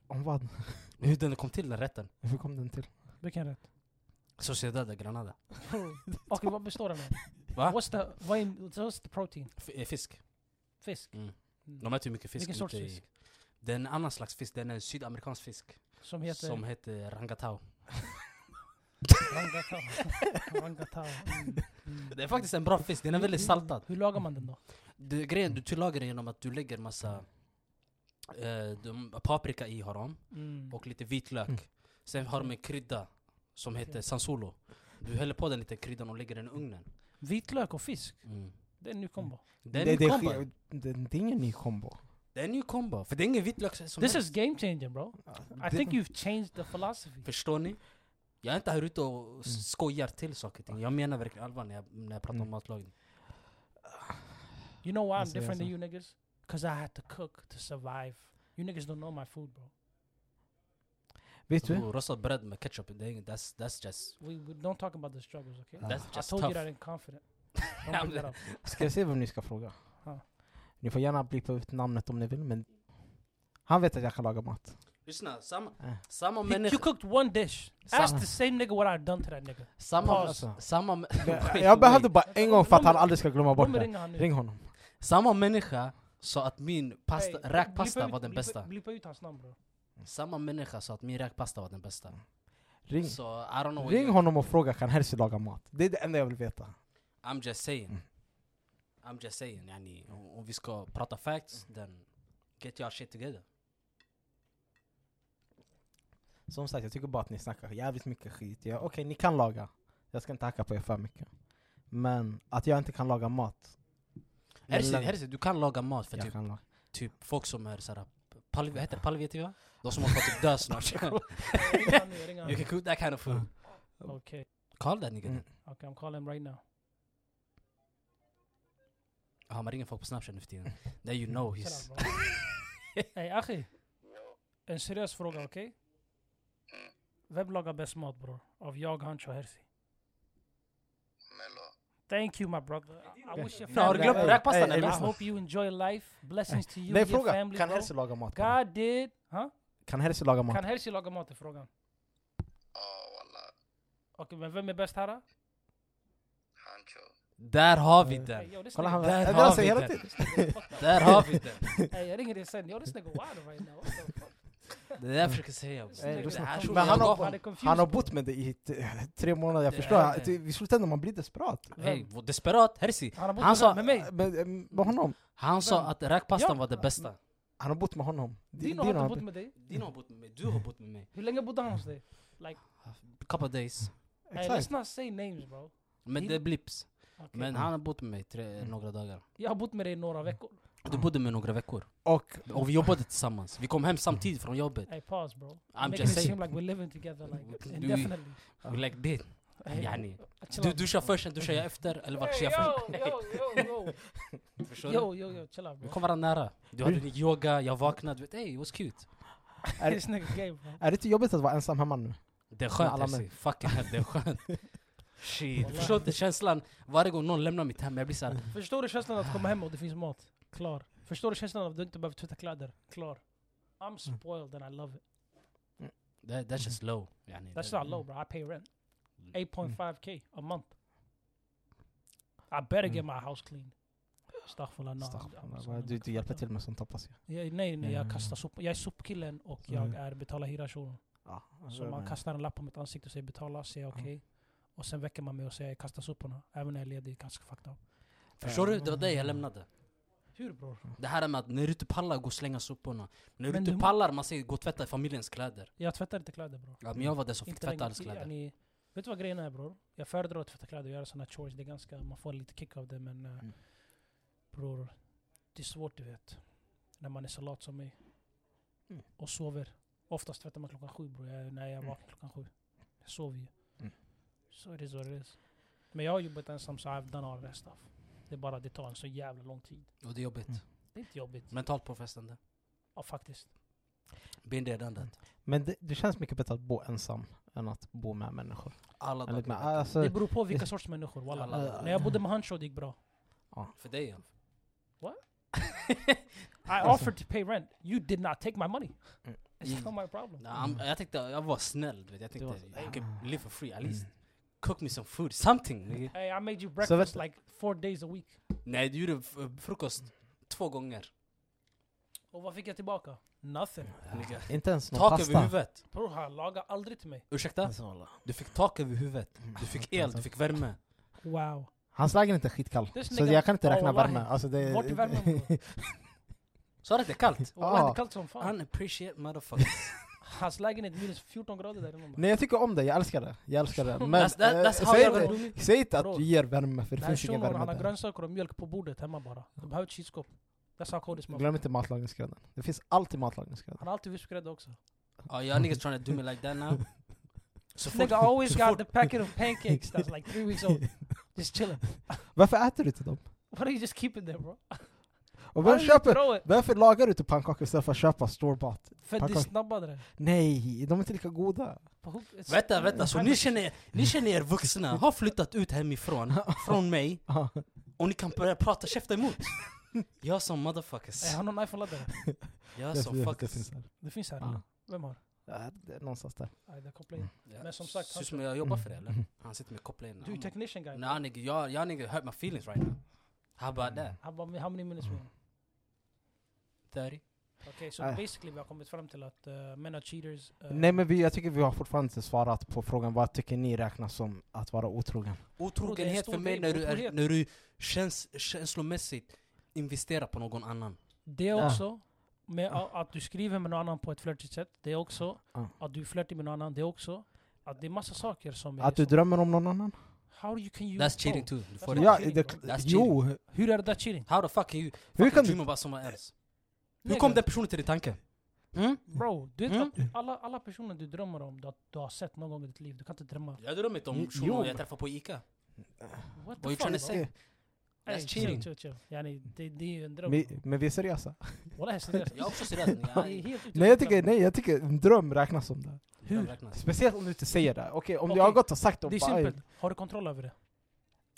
S2: Om vad?
S3: Hur den kom till, den rätten?
S2: Hur kom den till?
S1: Vilken rätt?
S3: Sociedad del Granada.
S1: Okej, vad består den av?
S3: Va?
S1: What's the, vad är, what's the protein?
S3: F- eh, fisk.
S1: Fisk?
S3: Mm. De äter ju mycket fisk.
S1: Vilken sorts
S3: ute i-
S1: fisk?
S3: Det är en annan slags fisk, det är en sydamerikansk fisk.
S1: Som heter?
S3: Som heter rangatao.
S1: Rangatao. Rangatao. Mm. Mm.
S3: [LAUGHS] Det är faktiskt en bra fisk, den är väldigt saltad.
S1: Hur lagar man den då?
S3: Du, grejen, du tillagar den genom att du lägger massa eh, de, paprika i har de,
S1: Mm.
S3: och lite vitlök.
S2: Mm.
S3: Sen har de en krydda som heter
S1: Okej.
S3: sansolo. Du häller på den lite kryddan och lägger den i ugnen.
S1: Vitlök och fisk?
S3: Mm.
S1: Det är en ny kombo.
S3: Det är en ny kombo.
S2: det, det är ingen ny kombo.
S3: Det är en ny kombo. För det är ingen vitlök som
S1: This is
S3: helst.
S1: game changing bro. I
S2: Det-
S1: think you've changed the philosophy.
S3: Förstår ni? Jag är inte här ute och s- skojar till saker och ting. Jag menar verkligen allvar när jag, när jag pratar om
S2: Mm.
S3: matlagning.
S1: You know why I'm
S2: Yes, yes,
S1: different than
S2: sir.
S1: you niggas? Cause I had to cook to survive. You niggas don't know my food bro.
S2: Vet du?
S3: Oh, Rostat bröd med ketchup, det är, ing- that's, that's just...
S1: We, we don't talk about the struggles okay?
S2: Ah.
S3: That's
S1: I
S3: just
S1: told you
S3: tough.
S1: that I'm
S3: [LAUGHS]
S1: confident. Don't bring that up.
S2: Ska jag se vem ni ska fråga?
S1: Ja.
S2: Ni får gärna blippa ut namnet om ni vill, men han vet att jag kan laga
S3: [LAUGHS]
S2: mat.
S3: Lyssna, samma,
S2: Äh.
S3: samma
S1: You- You
S3: människa...
S1: cooked one dish.
S3: Sam-
S1: Ask the same nigga what I've done to that nigga.
S3: Samma,
S2: Paus.
S3: samma, mä- [LAUGHS] Wait,
S2: Jag behövde
S3: wait.
S2: bara en gång för att han aldrig ska glömma bort
S1: Kommer
S2: det.
S1: ringa han nu.
S2: Ring honom.
S3: samma människa sa att min
S1: Hey,
S3: pasta,
S1: blipa
S3: räkpasta
S1: ut-
S3: var den
S1: blipa-
S3: bästa.
S1: Blipa ut hans
S3: [LAUGHS]
S1: namn bro.
S3: Samma människa sa att min räkpasta var den bästa.
S2: Ring,
S3: Så I don't know.
S2: ring honom och fråga kan Herzi laga mat. Det är det enda jag vill veta.
S3: I'm just saying.
S2: Mm.
S3: I'm just saying. Yani, om om vi ska prata facts,
S2: Mm.
S3: then get your shit together.
S2: Som sagt, jag tycker bara att ni snackar jävligt mycket skit. Ja, Okej, ni kan laga. Jag ska inte hacka på er för mycket. Men att jag inte kan laga mat.
S3: Herse,
S2: Lugn.
S3: herse, du kan laga mat för
S2: jag
S3: typ,
S2: kan laga.
S3: typ folk som är såhär, Palli- vad heter det? Palliativa? De som håller på att typ
S2: [LAUGHS]
S3: dö snart.
S1: Ring han nu, ring han
S3: [LAUGHS] you
S1: nu.
S3: can cook that kind of food.
S1: Okay,
S3: Call that nigga
S2: Mm.
S3: then.
S1: okay, I'm calling right now.
S3: Jaha, man ringer folk på Snapchat nu för tiden. There you know he's...
S1: Shut up, bro. Hey, Achi. En seriös fråga, okej?
S2: Mm.
S1: Vem lagar bäst mat, bror? Av jag, Hancho, Hersi? Thank you, my brother. I, I wish your
S3: No, har du glömt
S1: family...
S3: räkpastan
S1: I
S3: eller?
S1: hope you enjoy life. Blessings to you
S2: Nej
S1: and your
S2: fråga,
S1: family,
S2: kan
S1: bro.
S2: Herse laga mat?
S1: God did... Huh?
S2: Kan Herse laga mat?
S1: Kan Hersi laga mat, är frågan. Okej, men vem är bäst här? då?
S3: Där har vi
S1: Hey,
S3: den!
S1: yo, this
S2: Kolla han,
S1: nigga-
S3: Där
S2: det
S3: har
S2: han säger
S3: vi
S2: hela
S3: den.
S2: tiden.
S3: Där har vi den!
S1: Hey, jag ringer dig sen. Yo, this nigga wild right now. What the fuck?
S3: Det är det jag försöker säga.
S1: This
S2: Eh,
S1: nigga-
S2: lyssna.
S3: Det här
S2: Men
S3: tror
S1: är
S3: jag
S2: han har-
S3: gav honom.
S1: är confused,
S2: Han har
S1: bro.
S2: bott med dig i t- [LAUGHS] tre månader, jag
S3: Det är
S2: förstår.
S3: det.
S2: Att I slutändan man blir desperat.
S3: Hey, vad desperat, Hersi.
S1: Han har bott
S3: Han
S1: med-
S3: sa-
S1: med mig.
S2: Men, eh, med honom.
S3: Han sa
S1: Vem?
S3: att räkpastan
S1: Ja.
S3: var det bästa.
S2: Han har bott med honom. Di-
S1: Dino har
S2: Dino
S1: inte
S2: har
S1: bott
S2: bott-
S1: med dig.
S3: Dino har bott med mig, du har bott med mig.
S1: Hur länge bodde han hos dig? Like,
S3: Couple days.
S1: hey,
S2: Exakt.
S1: let's not say names bro.
S3: Men
S1: Dino-
S3: det är blips.
S1: Okej. Mm.
S3: Men han har bott med mig tre, några dagar.
S1: Jag har bott med dig i några veckor.
S3: Du bodde med några veckor.
S2: Och
S3: Och vi jobbade tillsammans. Vi kom hem samtidigt från jobbet.
S1: Hey, pause bro.
S3: I'm
S1: Making
S3: just
S1: it seem
S3: saying.
S1: like we're living
S3: [LAUGHS]
S1: together like
S3: Du-
S1: indefinitely.
S3: We like that.
S1: Hey,
S3: Yani.
S1: chill
S3: Du
S1: out.
S3: duschar först, sen duschar jag efter. Eller vad
S1: Hey,
S3: duschar jag [LAUGHS] först?
S1: yo, yo, yo,
S3: Förstår
S1: yo,
S3: du?
S1: yo, yo, yo, chill out
S3: Vi
S1: bro.
S3: kom varandra nära. Du hade din yoga, jag vaknade. Du vet, hey, it was cute.
S1: [LAUGHS]
S2: Är-
S1: This nigga gay bro.
S2: är det inte jobbigt att vara ensam hemma nu?
S3: Det är
S2: Med
S3: skönt
S2: alla
S3: Hersi. Fucking hell, det är skönt. Shit.
S1: Wallah.
S3: Förstår inte känslan? Varje gång någon lämnar mitt hem, jag blir såhär...
S1: Förstår du känslan att komma hem och det finns mat? Klar. Förstår du känslan att du inte behöver tvätta kläder? Klar. I'm spoiled and I love it.
S3: That, that's just low. Yani,
S1: That's
S3: det-
S1: not low bro, I pay rent.
S3: Mm.
S1: 8.5k a month. I better
S3: Mm.
S1: get my house clean. Astaghfirullah. no, I'm-
S2: Staffan,
S1: I'm
S2: vad-
S1: sorry,
S2: Du, du
S1: fattar
S2: hjälper
S1: inte.
S2: till med sånt hoppas jag.
S1: Ja, nej, nej, jag
S2: Ja.
S1: kastar sop- Jag är sopkillen och
S2: Mm.
S1: jag är betalar hyra shunon.
S2: Ja,
S1: Så man kastar en lapp på mitt ansikte och säger betala, säger jag okej. Och sen väcker man mig och säger jag kastar soporna. Även när jag är ledig, ganska fucked up.
S3: Förstår du? Det var det jag lämnade.
S1: Hur bror?
S3: Det här med att när du inte pallar, gå och slänga soporna. När du
S1: Men
S3: inte
S1: du-
S3: pallar, man säger gå och tvätta familjens kläder.
S1: Jag tvättar inte kläder bror.
S3: Ja, men jag var den som fick
S1: Inte
S3: tvätta
S1: längre.
S3: allas kläder.
S1: Yani, vet du vad grejen är bror? Jag föredrar att tvätta kläder och göra sådana chores. Det är ganska, man får lite kick av det men eh,
S2: Mm.
S1: bror, det är svårt du vet. När man är så lat som mig.
S2: Mm.
S1: Och sover. Oftast tvättar man klockan sju bror. Jag, när jag vaknar klockan sju. Jag sover ju.
S2: Mm.
S1: Så är det så det är. Men jag har jobbat ensam så I've done all that stuff. Det är bara det tar en så jävla lång tid.
S3: Och det är jobbigt.
S2: Mm.
S1: Det är inte jobbigt.
S3: Mentalt påfrestande.
S1: Ja faktiskt.
S3: Been there, done that.
S2: Men det, det känns mycket bättre att bo ensam än att bo med människor.
S3: Alla
S2: Enligt mig.
S3: dagar.
S2: Alltså,
S1: Det beror på vilka sorts människor. Walla.
S3: Alla dagar.
S1: När jag bodde med Hancho det gick bra.
S3: För dig ja.
S1: I
S2: Alltså-
S1: offered to pay rent. You did not take my money.
S2: Mm.
S1: It's not my problem.
S3: Nah, I'm- Jag tänkte, jag var snäll. du Vet. Jag
S2: Du
S3: tänkte,
S2: var-
S3: you can live for free at
S2: mm.
S3: least. Cook me some food, something. nigga.
S1: Hey, I made you
S2: Så
S1: breakfast
S2: vet-
S1: like four days a week.
S3: Nej, du gjorde f- frukost två gånger.
S1: Och vad fick jag tillbaka? Nothing.
S3: nigga.
S2: inte ens någon
S3: Tak över
S2: pasta. Alltså.
S3: huvudet.
S1: Bror, han lagar aldrig till mig.
S3: Ursäkta? Du fick tak över huvudet. Du fick el, du fick värme.
S1: Wow.
S2: Hans lägenhet är skitkall.
S1: Det är
S2: Så
S1: snygga-
S2: jag kan inte
S1: Ja,
S2: räkna
S1: wallahi.
S2: värme. Alltså, det,
S1: Vart är värmen bror?
S3: Sa du att det är
S1: [LAUGHS]
S3: kallt?
S1: Och det
S2: Ah.
S1: är kallt som fan.
S2: [LAUGHS]
S3: Unappreciate motherfucker.
S1: Hans lägenhet är minus 14 grader där inne.
S2: [LAUGHS] Nej jag tycker om det, jag älskar det. Jag
S1: [LAUGHS]
S2: älskar det. Men
S3: That's- that-
S2: eh,
S3: that's how
S2: säg,
S3: jag
S2: inte,
S3: vill-
S1: bror.
S2: säg inte att
S1: Bror.
S2: du ger värme för
S1: Den
S2: det
S1: här
S2: finns
S1: shunon,
S2: ingen
S1: han
S2: värme
S1: har
S2: där.
S1: grönsaker och mjölk på bordet hemma bara. De behöver ett kylskåp. That's how cold it's man.
S2: Glöm inte matlagningsgrädden. Det finns alltid matlagningsgrädda.
S1: Han har alltid vispgrädde också.
S3: oh, y'all niggas trying to do me like that now?
S2: [LAUGHS]
S3: Så fort,
S1: Nigga always
S3: så
S1: got
S3: fort-
S1: the packet of pancakes that's like three weeks
S2: [LAUGHS]
S1: old. Just chilling.
S2: Varför äter du inte dem?
S1: Why do you just keep it there bro?
S2: Och
S1: Why
S2: varför,
S1: do you
S2: köper,
S1: throw it?
S2: varför lagar du inte pannkakor istället för att köpa store-bought?
S1: För det är
S2: Packar-
S1: snabbare.
S2: Nej, de är inte lika goda.
S1: På hook- it's-
S3: Vänta, vänta, så
S1: I'm
S3: ni
S1: just-
S3: känner, ni känner er
S2: [LAUGHS]
S3: vuxna, har flyttat ut hemifrån, från mig,
S2: Ja.
S3: och ni kan börja prata
S2: [LAUGHS]
S3: käft emot? Jag som motherfuckers.
S1: Eh, Har någon iPhone-laddare?
S3: Jag
S2: Det-
S3: som
S2: det- det
S3: fuckers.
S2: finns här.
S1: Det finns här.
S2: Ja.
S1: eller? Vem har?
S2: Ja, det är Någonstans där.
S1: Nej, det kopplar in.
S3: Ja,
S1: Men som sagt,
S3: ser ut som jag jobbar för det
S2: Mm.
S3: eller? Han sitter med kopplingen.
S1: Du är technician guy.
S3: Mm. Nej nigga, jag, jag nigga hurt my feelings right now. How about that?
S1: How, about, how many minutes
S3: Mm.
S2: Mm.
S1: we on?
S3: 30?
S1: Okej, så
S2: Ah.
S1: basically vi har kommit fram till att uh, män är cheaters. eh,
S2: Nej men vi, jag tycker vi har fortfarande inte svarat på frågan vad tycker ni räknas som att vara otrogen?
S3: Otrogenhet
S1: stor
S3: för mig
S1: grej,
S3: när du, är,
S1: otrohet.
S3: när du känns, känslomässigt investerar på någon annan.
S1: Det
S2: Ah.
S1: också. Med a- att du skriver med någon annan på ett flörtigt sätt. Det är också.
S2: Ah.
S1: Att du flörtar med någon annan. Det är också. Att det är massa saker som är
S2: Att du
S1: så.
S2: drömmer om någon annan?
S1: How you can you
S3: That's cheating
S1: know?
S3: too. Du
S1: That's
S3: får det.
S2: Ja,
S1: cheating,
S2: det,
S1: bro.
S3: That's
S2: jo!
S1: Hur är det där cheating?
S3: How the fuck can you
S2: Hur
S3: fucking
S2: kan du...
S3: dream about someone else? Hur
S1: Nigga,
S3: kom den personen till din tanke? Mm?
S1: Bro, du vet
S3: Mm.
S1: att alla, alla personer du drömmer om, du har, du har sett någon gång i ditt liv. Du kan inte drömma.
S3: Jag drömmer inte om
S2: Jo,
S3: shunon jag
S2: men-
S3: träffar på Ica.
S1: What the
S3: What you
S1: fuck?
S3: tryna
S1: bro?
S3: say?
S1: Ey,
S3: That's
S1: Chill,
S3: cheating.
S1: chill, chill. Yani, det, det är ju en dröm.
S2: Men, men vi är seriösa.
S1: Walla, jag är
S3: [LAUGHS]
S1: seriös.
S3: Jag är också seriös.
S1: Det
S3: Jag
S1: är helt ute
S2: Nej jag,
S1: i
S2: tycker, nej jag tycker en dröm räknas som det.
S3: Dröm räknas.
S2: Speciellt om du inte säger det. Okej, om
S1: Okej,
S2: du har gått och sagt det
S1: världen.
S2: och
S1: Det är
S2: bara, "Ey,
S1: simpelt. Har du kontroll över det?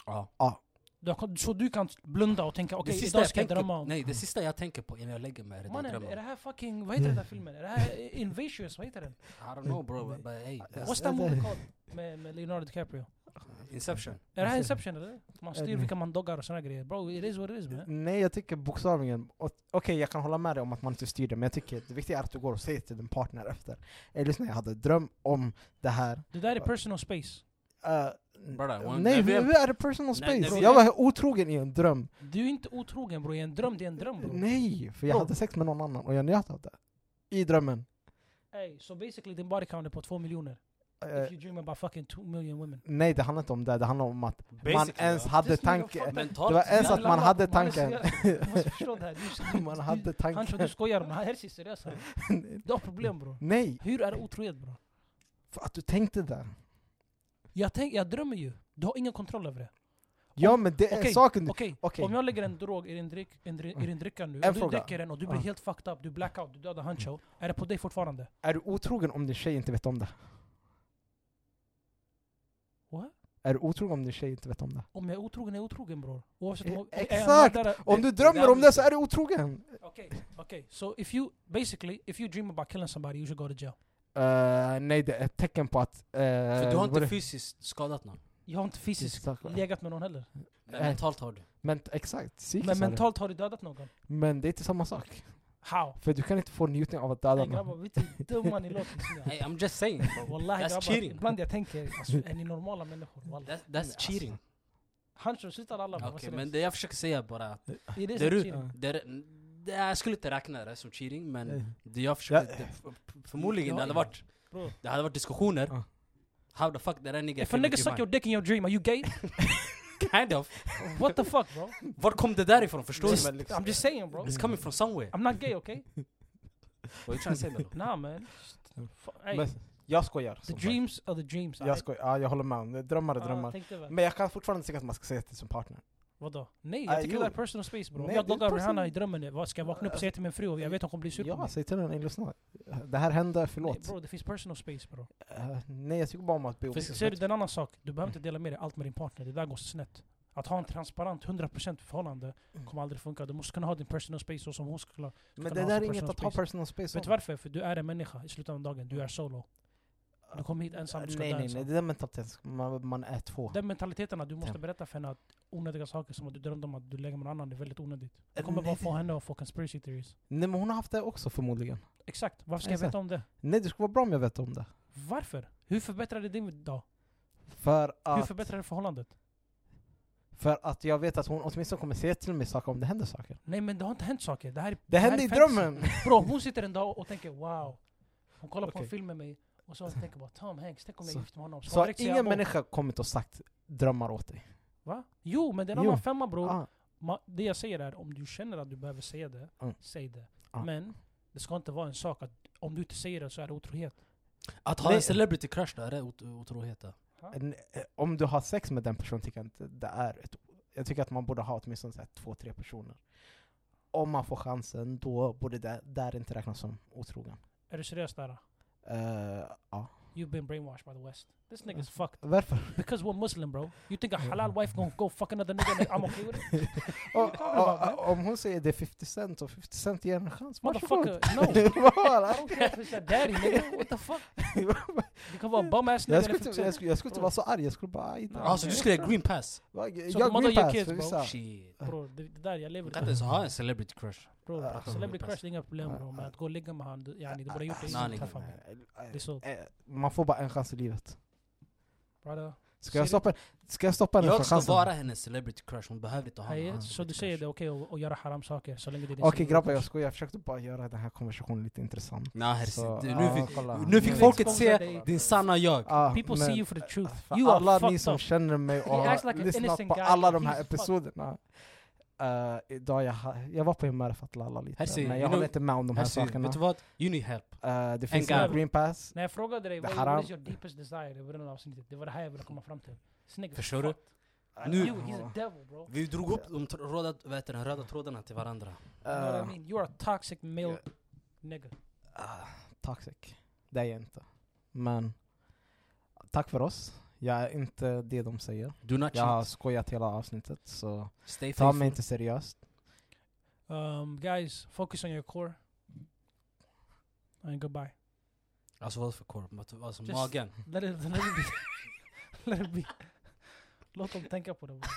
S3: Ja.
S1: Du har, kon- så du kan blunda och tänka okej,
S3: Det sista
S1: idag
S3: jag
S1: ska jag drömma
S3: tänker-
S1: om...
S3: nej, det sista jag tänker på när jag lägger mig är den där
S1: Mannen, är det
S3: drömmen.
S1: här fucking... Vad heter den där filmen? Är det här Invasious? Vad heter den?
S3: I don't know bro, but hey.
S1: What's that movie called? Med, med Leonardo DiCaprio.
S3: Inception.
S1: Är det här
S2: Alltså-
S1: Inception eller? Man styr vilka man doggar och såna grejer. Bro, it is what it is man.
S2: Nej, jag tycker bokstavligen... och- Okej, jag kan hålla med dig om att man inte styr det, men jag tycker det viktiga är att du går och säger till din partner efter. Ey lyssna, jag hade en dröm om det här.
S1: Det där är personal space.
S2: Eh,
S3: Brother, when-
S2: nej,
S3: när
S2: nu
S3: vi-
S2: är det personal space.
S3: när vi-
S2: jag var otrogen i en dröm.
S1: Du är inte otrogen bro, en dröm det är en dröm bro.
S2: Nej, för jag
S1: Bro.
S2: hade sex med någon annan och jag njöt av det. I drömmen.
S1: Ey, så basically din body count är på två miljoner.
S2: Eh,
S1: If you dream about fucking two million women.
S2: nej, det handlar inte om det. Det handlar om att man
S3: Basically,
S2: ens
S3: ja.
S2: hade
S1: Just nu, jag
S2: tanke...
S1: fattar.
S3: Mentalt.
S2: Det var ens
S1: Jag
S2: att man
S1: lallar,
S2: hade
S1: [LAUGHS] man är
S2: tanken.
S1: seriös. Du måste förstå det här. Du- du-
S2: [LAUGHS] Man
S1: du-
S2: hade
S1: Han tror du
S2: tanken.
S1: skojar men Hersi är seriös. här. Du har problem bro.
S2: Nej,
S1: Hur är det otrohet bro?
S2: för att du tänkte det.
S1: Jag, tänk, jag drömmer ju. Du har ingen kontroll över det.
S2: Ja, men det är
S1: Okej,
S2: saken...
S1: Okej,
S2: Okej.
S1: om jag lägger en drog i din, drick, en dri, i din dricka nu,
S2: En
S1: och du
S2: fråga.
S1: dricker den och du blir
S2: Ja.
S1: helt fucked up, du blackout, du dödar Hancho. Är det på dig fortfarande?
S2: Är du otrogen om din tjej inte vet om det?
S1: What?
S2: Är du otrogen om din tjej inte vet om det?
S1: Om jag är otrogen är jag otrogen bror. Oavsett om,
S2: Eh,
S1: är jag
S2: exakt!
S1: mördare-
S2: Om du
S3: det
S2: drömmer
S3: där
S2: om det så
S3: blir-
S2: är du otrogen!
S1: Okej, okej. So if you, basically, if you dream about killing somebody you should go to jail.
S2: Eh, nej, det är ett tecken på att... eh,
S3: För du har
S2: vad
S3: inte
S2: det-
S3: fysiskt skadat någon.
S1: Jag har inte fysiskt
S2: Exakt.
S1: legat med någon heller.
S3: Men
S2: Nej.
S3: mentalt har du.
S2: Men exakt, psykiskt
S1: Men
S2: är
S1: mentalt har du dödat någon.
S2: det. Men det är inte samma sak.
S1: How?
S2: För du kan inte få njutning av att döda
S1: Ey
S2: någon.
S1: grabbar, vet du hur dumma ni låter? just nu?
S3: [LAUGHS] Hey, I'm
S1: [LAUGHS]
S3: just saying bro.
S1: Wallahi
S3: That's
S1: grabbar,
S3: cheating.
S1: ibland jag tänker, alltså, är ni normala människor? Wallah.
S3: That, that's cheating.
S1: Hancho, sluta alla
S3: Okej, men det jag försöker säga bara att
S1: It is
S3: det du-
S1: cheating.
S3: det, är- det, jag skulle inte räkna det som cheating, men
S2: Eh,
S3: det jag försöker...
S2: Ja.
S3: Det, f- förmodligen det
S1: Ja,
S3: hade
S1: ja.
S3: varit,
S1: Bro.
S3: det hade varit diskussioner.
S2: Ja.
S3: How the fuck did that nigga
S1: If a
S3: feel
S1: nigga
S3: with
S1: suck
S3: your
S1: your dick in your dream, are you gay?
S3: mind? Kind of.
S1: What the fuck bro?
S3: Var kom det där ifrån? Förstår
S1: Just-
S3: du?
S1: I'm just saying bro.
S3: It's coming from somewhere.
S1: I'm not gay okay?
S3: What you trying to say though?
S1: Nah man. F- ey,
S2: Men jag skojar.
S1: the
S2: som sagt.
S1: dreams are the dreams.
S2: Jag skojar, ja, jag håller med om det. Drömmar är
S1: Ah,
S2: drömmar.
S1: tänk dig väl.
S2: Men jag kan fortfarande tycka att man ska säga till sin partner.
S1: Vadå? Nej,
S2: Ah,
S1: jag tycker
S2: jo.
S1: det är personal space bro. Om
S2: Nej,
S1: jag
S2: det är
S1: doggar
S2: personal-
S1: Rihanna i drömmen, nu, vad ska jag vakna upp och säga till min fru? och Jag vet hon kommer bli sur på
S2: Ja,
S1: mig.
S2: säg till den, "Ey, lyssna. Det här hände, förlåt.
S1: Nej, bro, det finns personal space bro.
S2: Eh, nej, jag tycker bara om att be om
S3: Finns-
S1: Ser du,
S2: ursäkt.
S1: det är en annan sak. Du behöver inte dela med dig allt med din partner. Det där går snett. Att ha en transparent 100% förhållande
S2: Mm.
S1: kommer aldrig funka. Du måste kunna ha din personal space så som hon skulle ha.
S2: Men
S1: kan
S2: det
S1: ha
S2: där är
S1: sin
S2: inget
S1: personal
S2: att ha
S1: space.
S2: personal space
S1: Vet du
S2: om.
S1: varför? För du är en människa i slutet av dagen. Du är solo. Du kommer hit ensam, du ska
S2: nej,
S1: dö
S2: nej, nej,
S1: ensam.
S2: det där mentaliteten, ska- man, man är två.
S1: Den mentaliteten att du måste
S2: Damn.
S1: berätta för henne att onödiga saker som att du drömde om att du lägger med någon annan, det är väldigt onödigt. Det
S2: Eh,
S1: kommer bara
S2: nej,
S1: få henne att få conspiracy theories.
S2: Nej, men hon har haft det också förmodligen.
S1: Exakt, varför ska jag
S2: Exakt.
S1: veta om det?
S2: Nej, det skulle vara bra om jag vet om det.
S1: Varför? Hur förbättrar det din dag?
S2: För
S1: Hur
S2: att,
S1: förbättrar det förhållandet?
S2: för att jag vet att hon åtminstone kommer säga till mig saker om det händer saker.
S1: Nej men det har inte hänt saker. Det här är
S2: Det
S1: här
S2: hände
S1: är
S2: i
S1: fantasy.
S2: drömmen!
S1: Bro, hon sitter en dag och tänker wow. Hon kollar på en
S2: Okej.
S1: film med mig och
S2: [LAUGHS]
S1: så tänker hon bara Tom Hanks, tänk om jag
S2: Så-
S1: gifter mig med honom. hon
S2: Så har
S1: direkt säger,
S2: ingen
S1: "Abo."
S2: människa kommit och sagt drömmar åt dig.
S1: Va? Jo, men det är en
S2: Jo.
S1: annan femma bror.
S2: Ah,
S1: Ma- det jag säger är, om du känner att du behöver säga det,
S2: Mm.
S1: säg det.
S2: Ah.
S1: Men det ska inte vara en sak att om du inte säger det så är det otrohet.
S3: Att ha
S2: Nej.
S3: en celebrity crush då, är det ot- otrohet? då?
S2: en- eh, om du har sex med den personen tycker jag inte det är ett... Jag tycker att man borde ha åtminstone så här, två, tre personer. Om man får chansen, då borde det där inte räknas som otrogen.
S1: Är du seriös där?
S2: Eh, ja.
S1: You've been brainwashed by the West. This nigga's fucked.
S2: Varför?
S1: Because we're Muslim bro. You think a halal wife gonna go fuck another nigga and I'm okay
S2: [LAUGHS]
S1: with it?
S2: Och,
S1: talking about, man?
S2: och, om hon säger det är 50 cent och 50 cent ger en chans, varsågod.
S1: Motherfucker, no!
S2: [LAUGHS] Bara.
S1: I don't care if it's your daddy nigga, what the fuck? Du kan vara en bum ass nigga
S2: Jag
S1: eller
S2: skulle, inte, jag,
S1: fixer.
S2: skulle, jag skulle inte vara så arg, jag skulle bara... Aj,
S1: Ja,
S3: Ah, så du skulle ha green pass?
S2: jag
S1: Så de
S2: jag
S1: mother
S2: green
S1: your
S2: pass
S1: kids,
S2: för
S1: bro.
S2: vissa.
S3: Shit.
S1: Bro, det, det där jag lever
S3: Du kan inte ens ha en celebrity crush.
S1: Bro,
S2: Ah,
S1: celebrity
S3: pass.
S1: crush det är inga problem bro. Men att gå och ligga med han, du- yani, du borde ha gjort det
S3: Ah,
S1: innan du
S3: nej,
S1: träffade mig. Det är så.
S2: Eh, Man får bara en chans i livet.
S1: Brother.
S2: Ska jag
S1: Ser
S2: stoppa, ska jag stoppa den
S3: Jag
S2: för
S3: ska
S2: chansen?
S3: vara hennes celebrity crush, hon behöver inte ha
S1: Hey,
S3: någon
S1: så du
S3: celebrity
S1: säger det
S3: crush.
S1: är okej att- att göra oh, haram saker så länge det är din
S2: Okej
S1: celebrity
S2: grabbar, jag
S1: crush.
S2: skojar. Jag försökte bara göra den här konversationen lite intressant.
S3: Nej herres,
S2: Så,
S3: du-
S2: ja,
S3: nu fick,
S2: kolla.
S3: nu fick
S1: Mm.
S3: folk
S1: Expose
S3: se
S1: dig.
S3: din sanna jag.
S2: Ah,
S1: People
S2: men
S1: see you for the truth.
S2: För
S1: You
S2: alla
S1: are
S2: ni
S1: fucked
S2: som
S1: up.
S2: känner mig och
S1: He acts
S2: har
S1: like an
S2: lyssnat
S1: innocent
S2: på
S1: guy,
S2: alla de
S1: he's
S2: här
S1: fucked.
S2: episoderna. eh, idag jag, ha- jag var på humöret för att lalla lite,
S3: Här ser-
S2: men
S3: you
S2: jag håller
S3: know-
S2: inte med om de här
S3: Alltså,
S2: sakerna.
S3: vet du vad? You need help.
S2: Eh, det finns
S3: guy.
S2: en green pass.
S1: När jag frågade dig
S2: Det
S1: vad
S2: här
S1: what
S2: har-
S1: is your deepest desire i början av avsnittet, det var det här jag ville komma fram till. Snyggt.
S3: Förstår du? Nu-
S2: Eh,
S1: You, he's a devil bro.
S3: Vi drog upp de tr- röda, vad heter det, röda trådarna till varandra.
S1: You know what I mean? You're a toxic male
S2: Uh, yeah.
S1: nigga.
S2: Ah, toxic. Det är jag inte. Men tack för oss. Jag är inte det de säger.
S3: Do not
S2: Jag har
S3: cheat.
S2: skojat hela avsnittet så
S3: Stay
S2: ta
S3: faithful.
S2: mig inte seriöst.
S1: Um, guys, focus on your core. And goodbye.
S3: Alltså vad för korp? Vad- Alltså
S1: Just-
S3: magen.
S1: Let it, let it be. [LAUGHS] let it be. Låt dem tänka på det bara.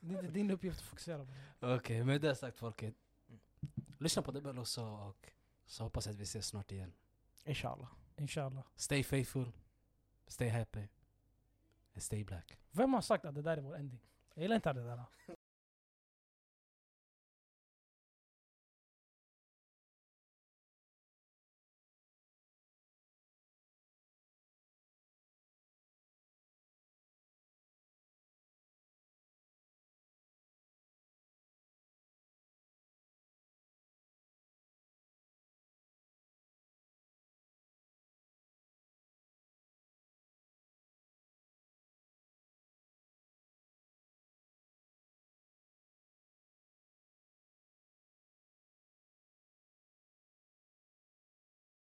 S1: Det är inte din uppgift att fokusera på det.
S3: Okej, med det sagt folket. Lyssna på Debel också och så hoppas jag att vi ses snart igen.
S2: Inshallah.
S1: Inshallah.
S3: Stay faithful. Stay happy. And stay black.
S1: Vem har sagt att det där är vår ending? Jag gillar inte det där.